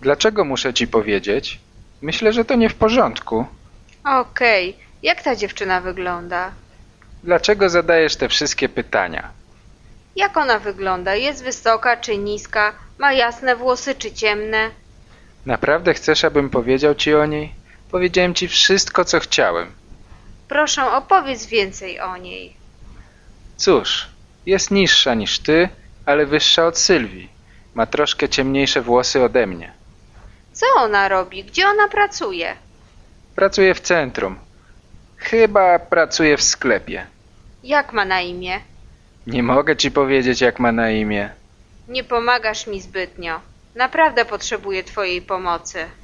Dlaczego muszę ci powiedzieć? Myślę, że to nie w porządku. Okej, jak ta dziewczyna wygląda? Dlaczego zadajesz te wszystkie pytania? Jak ona wygląda? Jest wysoka czy niska? Ma jasne włosy czy ciemne? Naprawdę chcesz, abym powiedział ci o niej? Powiedziałem ci wszystko, co chciałem. Proszę, opowiedz więcej o niej. Cóż, jest niższa niż ty, ale wyższa od Sylwii. Ma troszkę ciemniejsze włosy ode mnie. Co ona robi? Gdzie ona pracuje? Pracuje w centrum. Chyba pracuje w sklepie. Jak ma na imię? Nie mogę ci powiedzieć, jak ma na imię. Nie pomagasz mi zbytnio. Naprawdę potrzebuję twojej pomocy.